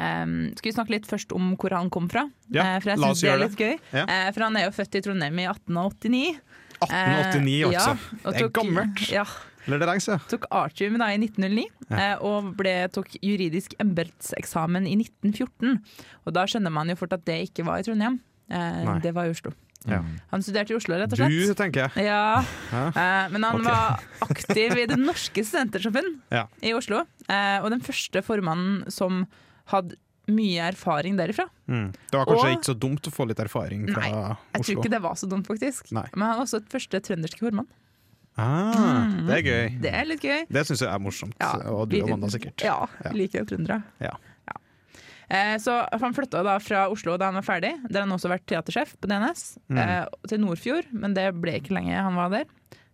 S4: Um, skal vi snakke litt først om hvor han kom fra?
S2: Ja,
S4: Eh, for jeg
S2: la oss
S4: synes det er
S2: gjøre
S4: litt gøy.
S2: Ja.
S4: Eh, for han er jo født i Trondheim i 1889.
S2: 1889, altså.
S4: Eh, ja, og
S2: det er
S4: tok-
S2: gammelt.
S4: Ja,
S2: Eller det er lengst, ja.
S4: tok artium da i 1909, eh, og ble, tok juridisk embetseksamen i 1914. Og da skjønner man jo fort at det ikke var i Trondheim, eh,
S2: Nei.
S4: det var i Oslo.
S2: Ja.
S3: mm,
S4: Han studerte i Oslo, rett og
S2: Du,
S4: slett.
S2: tenker jeg.
S4: Ja, eh, men han
S2: Ok.
S4: var aktiv i Det norske studentersamfunn
S2: Ja.
S4: i Oslo, eh, og den første formannen som hadde mye erfaring derifra.
S2: Mm. Det var kanskje
S4: Og-
S2: ikke så dumt å få litt erfaring fra
S4: Nei, Jeg
S2: Oslo.
S4: tror ikke det var så dumt, faktisk.
S2: Nei.
S4: Men han var også et første trønderske formann.
S2: Ah, det er gøy.
S4: Mm, Det er litt gøy.
S2: Det syns jeg er morsomt.
S4: Ja,
S2: og du
S4: vi-
S2: og Wanda sikkert.
S4: Ja, vi liker jo trøndere.
S2: Ja.
S4: Eh, Så han flytta da fra Oslo da han var ferdig, der han også har vært teatersjef på DNS,
S2: Mm.
S4: eh, til Nordfjord, men det ble ikke lenge han var der.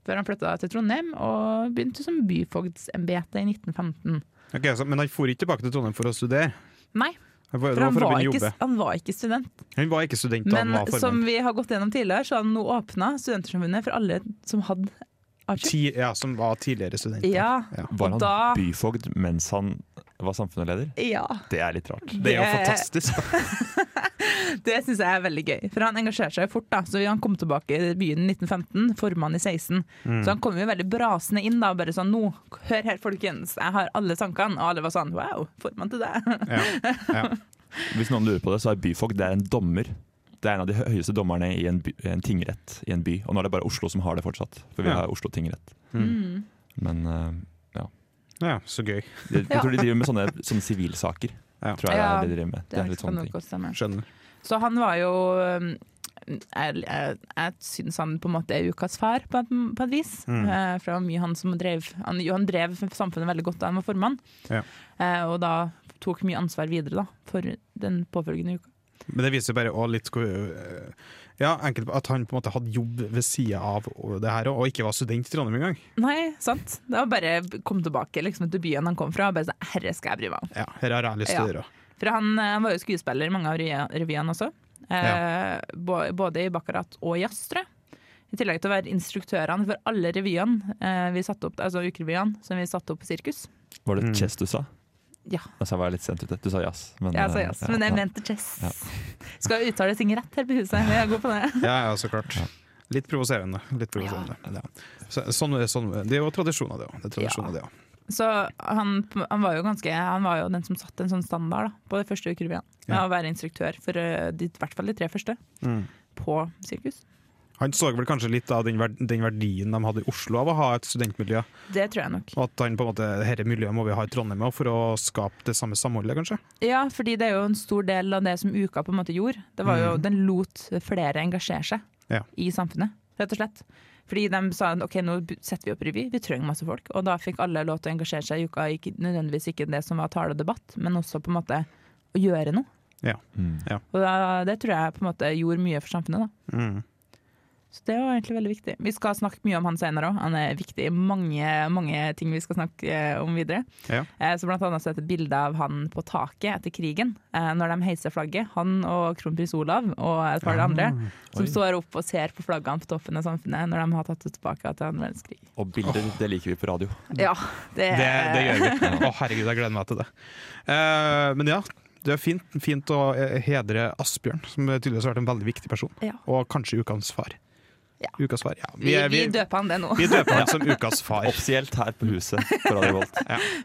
S4: Før han flytta til Trondheim og begynte som byfogdsembete i 1915.
S2: Ok, så, men han for ikke tilbake til Trondheim for å studere.
S4: Nei,
S2: Han var,
S4: for
S2: det var
S4: han
S2: for å
S4: var,
S2: begynne å
S4: ikke,
S2: jobbe.
S4: han var ikke student.
S2: Hun var ikke student da han
S4: Men
S2: var
S4: som
S2: formann.
S4: vi har gått gjennom tidligere, så har han nå åpna Studentersamfunnet for alle som hadde artium.
S2: Ti, ja, som var tidligere student.
S4: Ja,
S2: Ja.
S3: Var han
S4: og da
S3: byfogd mens han var samfunnsleder?
S4: ja.
S3: Det er litt rart.
S2: Det er jo
S4: Det-
S2: fantastisk. da.
S4: Det syns jeg er veldig gøy, for han engasjerte seg fort. da Så Han kom tilbake i byen i 1915, formann i 16.
S3: Mm.
S4: Så
S2: Mm.
S4: han kom jo veldig brasende inn da, bare sånn Nå, hør her, folkens, jeg har alle tankene. Og alle var sånn Wow, formann til
S3: Mm.
S4: deg.
S2: Ja.
S3: Hvis noen lurer på det, så er byfogd det er en dommer. Det er en av de hø- høyeste dommerne i en, by, en tingrett i en by. Og nå er det bare Oslo som har det fortsatt, for vi
S2: Ja.
S3: har Oslo tingrett.
S4: Mm.
S3: Men eh,
S2: ja, så gøy.
S3: de, jeg
S4: Ja.
S3: tror de driver med sånne, sånne sivilsaker.
S2: Ja.
S3: Tror jeg
S4: Ja,
S3: det er det de driver med. Det er litt
S4: kan
S3: sånne
S4: nok
S3: ting.
S4: godt stemme.
S2: Skjønner.
S4: Så han var jo øhm, jeg, jeg, jeg syns han på en måte er ukas far, på et, på et vis.
S3: Mm.
S4: Eh, for det var mye han som drev han, jo, han drev samfunnet veldig godt da han var formann.
S2: Ja.
S4: Eh, og da tok mye ansvar videre da for den påfølgende uka.
S2: Men det viser bare også litt hvor, øh, ja, enkelt, at han på en måte hadde jobb ved sida av det her, og ikke var student i Trondheim engang.
S4: Nei, sant. Det var bare kom tilbake liksom, til byen han kom fra. Og bare sånn, herre skal jeg bry meg om.
S2: Ja, her har jeg lyst til å
S4: Ja.
S2: gjøre.
S4: For han, eh, han var jo skuespiller i mange av revy- revyene også. Eh, bå- Både i Baccarat og jazz, tror jeg. I tillegg til å være instruktørene for alle revyene eh, vi satte opp, altså ukerevyene som vi satte opp på sirkus.
S3: Var
S2: Mm.
S3: det chess du sa?
S4: Ja.
S3: Altså, jeg var litt sent ute. Du sa jazz. men,
S4: Jeg sa
S3: eh,
S4: jazz,
S3: ja,
S4: men jeg
S3: ja.
S4: mente chess.
S3: Ja.
S4: Skal jo uttale ting rett her på huset. Vi er gode på det.
S2: Ja, ja, så klart. Litt provoserende. Litt provoserende. Ja. Så, sånn, sånn, det er jo tradisjoner, det òg. Det er tradisjoner, det også.
S4: Så han, han var jo ganske Han var jo den som satte en sånn standard da, på de første ukerevyene. Med å være instruktør for eh, de, i hvert fall de tre første
S3: Mm.
S4: på sirkus.
S2: Han så vel kanskje litt av den, verd den verdien de hadde i Oslo av å ha et studentmiljø.
S4: Det tror jeg nok.
S2: Og at han på en måte, dette miljøet må vi ha i Trondheim også for å skape det samme samholdet, kanskje.
S4: Ja, fordi det er jo en stor del av det som uka på en måte gjorde. Det var jo, Den lot flere engasjere seg
S2: Mm. Ja.
S4: i samfunnet, rett og slett. Fordi de sa ok, nå b- setter vi opp revy, vi trenger masse folk. Og da fikk alle lov til å engasjere seg i uka, ikke nødvendigvis ikke det som var tale og debatt, men også på en måte å gjøre noe.
S2: Ja. Ja.
S4: Og da, det tror jeg på en måte gjorde mye for samfunnet, da.
S2: Mm.
S4: Så det var egentlig veldig viktig. Vi skal snakke mye om han senere òg, han er viktig i mange, mange ting vi skal snakke eh, om videre.
S2: Ja.
S4: Eh, Så blant annet så er det et bilde av han på taket etter krigen, eh, når de heiser flagget. Han og kronprins Olav og et par
S2: Ah,
S4: av de andre, som står opp og ser på flaggene på toppen av samfunnet når de har tatt det tilbake til annen verdenskrig.
S3: Og bilder, det liker vi på radio.
S4: Ja, det,
S2: Det, det gjør vi. Å, herregud, jeg gleder meg til det. Eh, men ja, det er fint, fint å eh, hedre Asbjørn, som tydeligvis har vært en veldig viktig person.
S4: Ja.
S2: Og kanskje ukas far.
S4: Ja.
S2: Ukas far, ja.
S4: Vi,
S2: er-
S4: vi døper han det nå,
S2: vi døper han som ukas far.
S3: Offisielt her på huset på Radio Volt.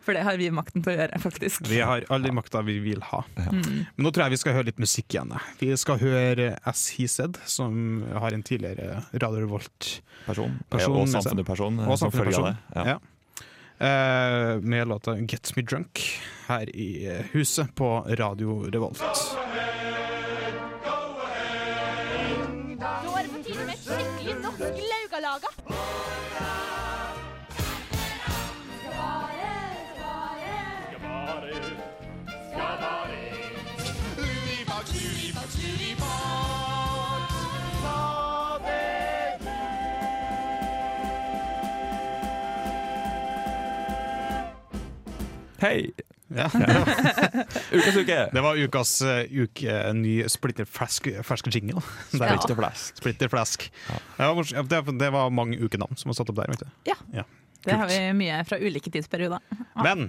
S4: for det har vi makten til å gjøre, faktisk.
S2: Vi har all den makta vi vil ha.
S4: Mm.
S2: Men nå tror jeg vi skal høre litt musikk igjen. jeg. Vi skal høre As He Said, som har en tidligere Radio Revolt,
S3: Person. eh,
S2: Person,
S3: og
S2: altså.
S3: samfunnet person. eh,
S2: Og
S3: som følge av
S2: samfunnsperson.
S3: det. Ja.
S2: Ja. eh, med låta 'Get Me Drunk' her i huset på Radio Revolt.
S9: laga.
S3: Hei!
S2: Ja.
S3: Ukas uke!
S2: Det var ukas eh, uke, eh, ny splitter fersk, fersk jingle. Der,
S3: Splitter blast.
S2: Splitter flask. Det, var, mors- ja, det, det var mange ukenavn som var satt opp der. Vet du.
S4: Ja.
S2: Ja.
S4: Det har vi mye fra ulike tidsperioder.
S2: Men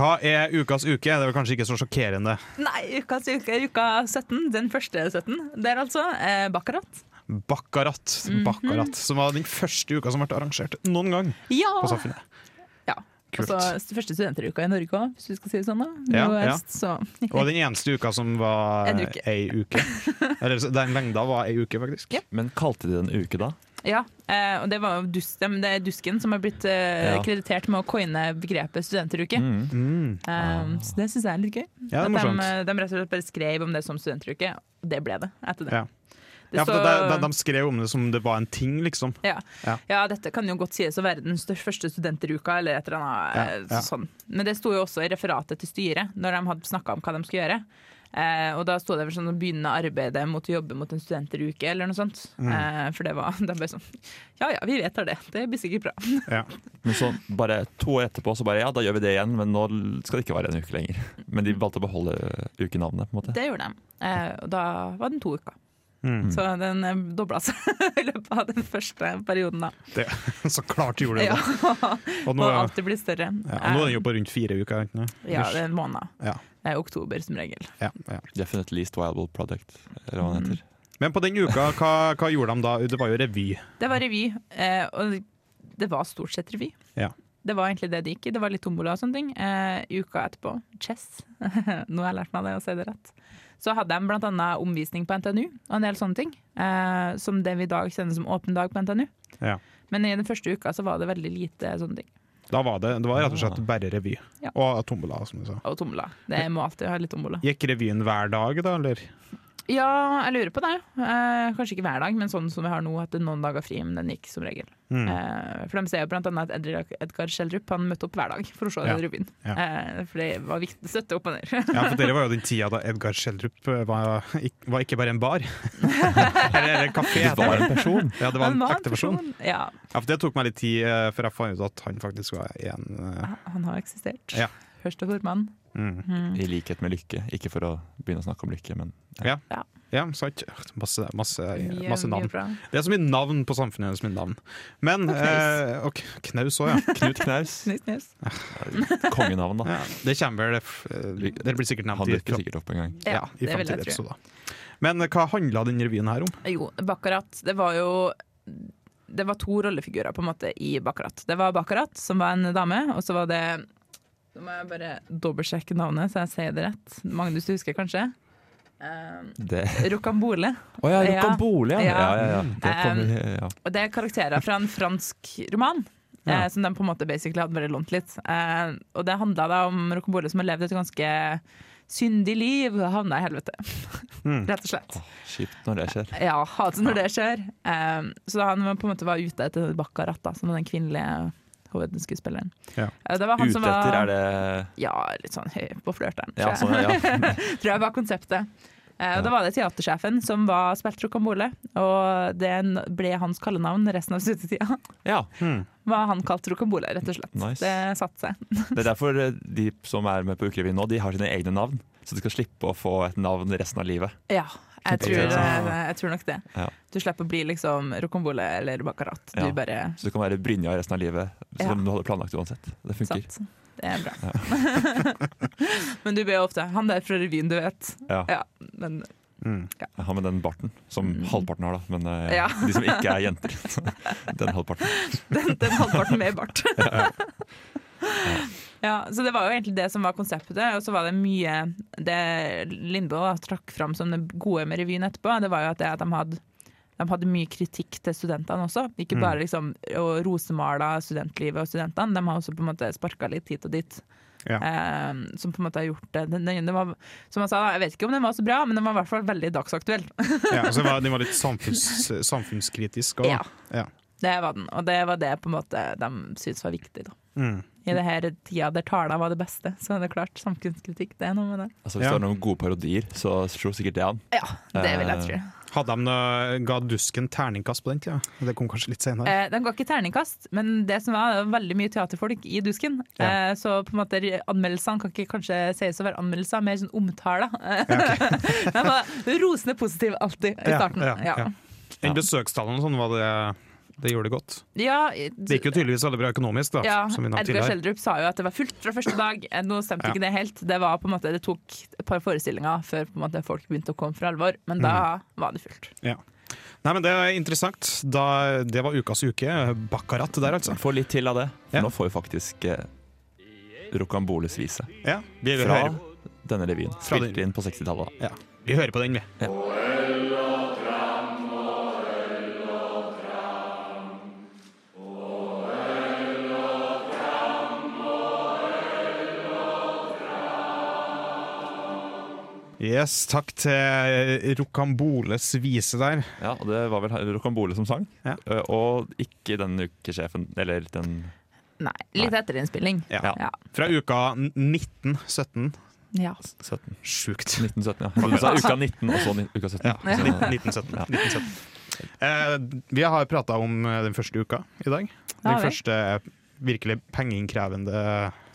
S2: hva er ukas uke? Det er vel kanskje ikke så sjokkerende.
S4: Nei, ukas uke er uka 17. Den første 17. Der altså. Eh, Baccarat.
S2: Baccarat,
S4: Mhm.
S2: Baccarat som var den første uka som ble arrangert noen gang
S4: Ja!
S2: på Samfunnet.
S4: ja.
S2: Kult.
S4: Og så første studenteruka i Norge òg, hvis du skal si det sånn. da.
S2: Ja,
S4: Nå
S2: ja.
S4: øst, Så.
S2: Og den eneste uka som var
S4: En uke.
S2: ei uke. Eller så- den lengda var ei uke, faktisk.
S4: Ja.
S3: Men kalte de det en uke, da?
S4: Ja, eh, og det, var jo dus, dem- det er Dusken som har blitt
S3: Ja.
S4: eh, kreditert med å coine begrepet studenteruke.
S2: Mm.
S4: Eh, så det syns jeg er litt gøy.
S2: Ja, det er
S4: At de,
S2: morsomt.
S4: eh, de rett og slett bare skrev om det som studenteruke, og det ble det etter det.
S2: Ja.
S4: Det
S2: Ja, for de,
S4: så-
S2: de, de skrev om det som det var en ting, liksom.
S4: Ja.
S2: Ja.
S4: Ja. dette kan jo godt sies å være den største første studenteruka, eller et eller annet
S2: Ja, ja.
S4: eh, sånn. Men det sto jo også i referatet til styret, når de hadde snakka om hva de skulle gjøre. Eh, og da sto det vel sånn å begynne arbeidet mot å jobbe mot en studenteruke, eller noe sånt.
S2: Mm.
S4: Eh, for det var de bare sånn Ja ja, vi vedtar det. Det blir sikkert bra.
S2: Ja.
S3: Men så bare to år etterpå så bare ja, da gjør vi det igjen, men nå skal det ikke være en uke lenger. Men de valgte å beholde ukenavnet, på en måte.
S4: Det gjorde de. Eh, og da var den to uker.
S2: Mm.
S4: Så den eh, dobla seg i løpet av den første perioden, da.
S2: Det, så klart gjorde det
S4: Ja.
S2: det. Og nå,
S4: Og
S2: ja,
S4: alltid blir større.
S2: og nå er den jo på rundt fire uker. ikke sant?
S4: Eh, ja, det er en måned.
S2: Ja.
S4: Det er oktober som regel.
S2: Ja, ja.
S3: Definitely least viable product, eller hva den heter.
S4: Mm.
S2: Men på den uka, hva, hva gjorde de da? Det var jo revy.
S4: Det var revy, eh, og det var stort sett revy.
S2: Ja.
S4: Det var egentlig det det gikk i. Det var litt tombola og sånne ting. Eh, uka etterpå, chess. Nå har jeg lært meg det, å si det rett. Så hadde de blant annet omvisning på NTNU, og en del sånne ting. Eh, som det vi i dag kjenner som åpen dag på NTNU.
S2: Ja.
S4: Men i den første uka så var det veldig lite sånne ting.
S2: Da var det, det var rett og slett bare revy.
S4: Ja.
S2: Og tombola, som du sa.
S4: Og tombola. Det må alltid ha litt tombola.
S2: Gikk revyen hver dag, da? Eller?
S4: Ja, jeg lurer på det. Eh, kanskje ikke hver dag, men sånn som vi har nå, at det er noen dager fri, men den gikk som regel.
S2: Mm.
S4: Eh, for de ser jo blant annet at Edgar- Edgar Schjelderup han møtte opp hver dag for å se
S2: Ja.
S4: revyen.
S2: Ja.
S4: Eh, for det var viktig å støtte opp og ned.
S2: Ja, for Dere var jo den tida da Edgar Schjelderup eh, var, ikk- var ikke bare en bar. eller, eller en kafé.
S3: Det var en person.
S2: Ja, det var en
S4: Han
S2: ekte person.
S4: Ja,
S2: Ja, for Det tok meg litt tid eh, før jeg fant ut at han faktisk var en eh,
S4: han har eksistert.
S2: Ja.
S4: Først og formann.
S2: mm.
S3: I likhet med lykke. Ikke for å begynne å snakke om lykke, men
S2: Ja, sant. Masse, masse,
S4: Mye-
S2: masse
S4: mye
S2: navn.
S4: bra.
S2: Det er så mye navn på samfunnet hennes, mine navn. Men eh, ok, Knaus òg, ja.
S3: Knut Knaus.
S4: Knut Knaus.
S3: Kongenavn, da.
S2: ja. Det kommer vel f- eh, Det blir sikkert
S3: Han
S2: nevnt i,
S3: dukker sikkert opp en gang.
S4: Ja,
S2: ja, i
S4: det vil
S2: fremtidige
S4: jeg tro.
S2: episoder. Men eh, hva handla den revyen her om?
S4: Jo, Baccarat, det var jo Det var to rollefigurer på en måte i Baccarat. Det var Baccarat, som var en dame, og så var det Nå må jeg bare dobbeltsjekke navnet, så jeg sier det rett. Magnus, du husker kanskje? Um,
S3: Det
S4: Rocambole.
S3: Å ja,
S4: Ja.
S3: Rocambole, ja. Ja,
S4: Ja. Um,
S3: ja, ja. Det kommer, ja.
S4: Og det er karakterer fra en fransk roman.
S2: Ja.
S4: Eh, som de på en måte basically hadde bare lånt litt. Eh, og det handla da om Rocambole som har levd et ganske syndig liv og havna i helvete.
S3: Hmm.
S4: Rett og slett.
S3: Kjipt når det skjer.
S4: Ja, hater når det skjer. Um, så da han på en måte var ute etter Baccarat, da, som var den kvinnelige hovedskuespilleren.
S2: Ja.
S4: Uh, Det var han
S3: Ute
S4: som var,
S3: etter er det
S4: Ja, litt sånn høy på flørteren,
S3: Ja,
S4: tror jeg.
S3: sånn, ja.
S4: tror jeg var konseptet. Eh,
S3: Ja.
S4: og Da var det teatersjefen som var spilt rocambole, og det n- ble hans kallenavn resten av studietida.
S3: ja.
S4: Var han kalt rocambole, rett og slett.
S3: Nice.
S4: Det satte seg.
S3: Det er derfor eh, de som er med på Ukerevyen nå, de har sine egne navn. Så de skal slippe å få et navn resten av livet.
S4: Ja, jeg tror,
S3: Kjempeinteressant.
S4: eh, jeg tror nok det.
S3: Ja.
S4: Du slipper å bli liksom rocambole eller baccarat. Du
S3: Ja.
S4: bare
S3: Så du kan være Brynja resten av livet, som
S4: Ja.
S3: om du hadde planlagt uansett. Det funker.
S4: Sant. Det er bra. men du ber jo ofte 'han der fra revyen, du vet'.
S3: Ja.
S4: Ja, men
S2: Mm.
S3: Jeg har med den barten, som halvparten har, da. Men eh,
S4: Mm. Ja.
S3: de som ikke er jenter. den halvparten.
S4: den, den halvparten med bart. Ja, så Det var jo egentlig det som var konseptet, og så var det mye Det Lindboe da trakk fram som det gode med revyen etterpå, det var jo at, det at de hadde de hadde mye kritikk til studentene også. Ikke
S2: Mm.
S4: bare liksom, å rosemale studentlivet og studentene, de har også på en måte sparka litt hit og dit.
S2: Ja.
S4: Eh, som på en måte har gjort det. Den, den, den var, som jeg sa, da, jeg vet ikke om den var så bra, men den var i hvert fall veldig dagsaktuell.
S2: Ja, altså, den var- den var litt samfunns, samfunnskritisk. Og,
S4: Ja.
S2: ja.
S4: Det var den, og det var det på en måte de syntes var viktig. da.
S2: Mm.
S4: I det her tida der tala var det beste, så er det klart samfunnskritikk. Det er noe med det.
S3: Altså, hvis
S2: Ja.
S3: det var noen gode parodier, så slo sikkert det an.
S4: Ja, det vil jeg tro.
S2: Hadde de noe, ga Dusken terningkast på den tida? Det kom kanskje litt senere.
S4: Eh, den ga ikke terningkast, men det som var, det var veldig mye teaterfolk i Dusken. Eh, så på en måte anmeldelsene kan ikke kanskje sies å være anmeldelser, mer sånn omtaler. De var rosende positive alltid i
S2: Ja,
S4: starten.
S2: ja,
S4: Ja,
S2: ja. Men besøkstallene og sånn var det Det gjorde det godt.
S4: Ja,
S2: Det gikk jo tydeligvis veldig bra økonomisk, da.
S4: ja,
S2: som vi nevnte
S4: Edgar
S2: tidligere.
S4: Schjelderup sa jo at det var fullt fra første dag. Eh, Nå stemte
S2: Ja.
S4: ikke det helt. Det var på en måte, det tok et par forestillinger før på en måte, folk begynte å komme for alvor, men da
S2: Mm.
S4: var det fullt.
S2: Nei, men Det er interessant. Da, det var ukas uke. Baccarat der, altså.
S3: Få litt til av det.
S2: Ja.
S3: Nå får vi faktisk eh, Rokamboles vise
S2: Ja, vi,
S3: fra
S2: hører,
S3: denne revyen.
S2: Fra
S3: Spilt inn på 60-tallet. da.
S2: ja, vi hører på den, vi. Yes, takk til Rokamboles vise der.
S3: Ja, og det var vel Rocambole som sang.
S2: Ja.
S3: Eh, Og ikke den ukesjefen, eller den
S4: Nei, litt etter innspilling.
S2: Ja.
S4: Ja.
S2: Fra uka 1917.
S4: Ja.
S3: 17.
S2: Sjukt.
S3: 1917, ja. Du sa uka 19, og så ni- uka 17.
S2: Ja, 1917.
S3: Ja.
S2: 1917. Eh, vi har prata om eh, den første uka i dag.
S4: Ja,
S2: Den
S4: vel.
S2: første virkelig pengeinnkrevende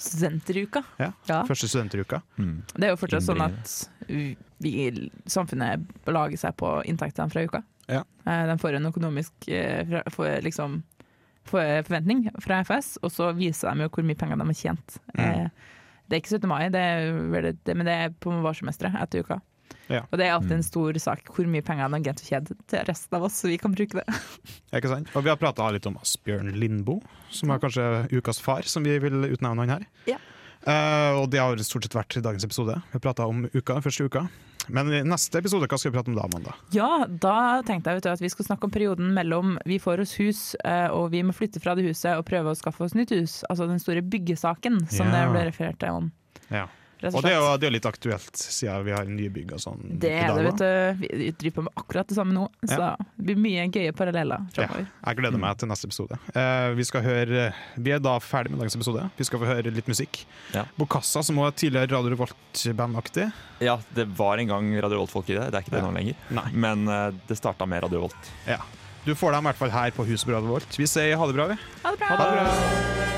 S4: Studentruka.
S2: ja,
S4: Ja.
S2: første studenteruka.
S3: Mm.
S4: Det er jo fortsatt sånn
S3: Innbringende.
S4: at vi, vi- samfunnet belager seg på inntektene fra uka.
S2: Ja.
S4: Eh, De får en økonomisk eh, fra- får liksom, får forventning fra FS, og så viser de jo hvor mye penger de har tjent.
S2: Mm.
S4: Eh, Det er ikke 17. mai, det er, vel- det, men det er på vårsemesteret etter uka.
S2: Ja. Mm.
S4: Og det er alltid en stor sak hvor mye penger en agent har tjent til resten av oss, så vi kan bruke det.
S2: Ikke sant? Og vi har prata litt om Asbjørn Lindboe, som er kanskje ukas far, som vi vil utnevne han her.
S4: Ja.
S2: Eh, og det har stort sett vært dagens episode. Vi har prata om uka, den første uka. Men i neste episode, hva skal vi prate om da, Amanda?
S4: Ja, da tenkte jeg vet du, at vi skulle snakke om perioden mellom vi får oss hus eh, og vi må flytte fra det huset og prøve å skaffe oss nytt hus. Altså den store byggesaken som det
S2: Ja.
S4: ble referert til om.
S2: Ja.
S4: Rett
S2: Og
S4: og
S2: det er jo
S4: slett.
S2: det er jo litt aktuelt, siden vi har nye bygg og sånn.
S4: Altså Det
S2: i
S4: er det,
S2: dag,
S4: vet
S2: da.
S4: du. Vi driver på med akkurat det samme nå, så det blir mye gøye paralleller framover.
S2: Jeg gleder meg til neste episode. Eh, vi, skal høre, vi er da ferdig med dagens episode. Vi skal få høre litt musikk.
S3: Ja.
S2: Bokassa, som også er tidligere Radio Revolt-bandaktig.
S3: Ja, det var en gang Radio Volt-folk i det. Det er ikke det
S2: Ja.
S3: nå lenger.
S2: Nei.
S3: Men eh, det starta med Radio Volt.
S2: Ja. Du får dem i hvert fall her på huset på Radio Revolt. Vi sier ha det bra, vi.
S4: Ha det bra!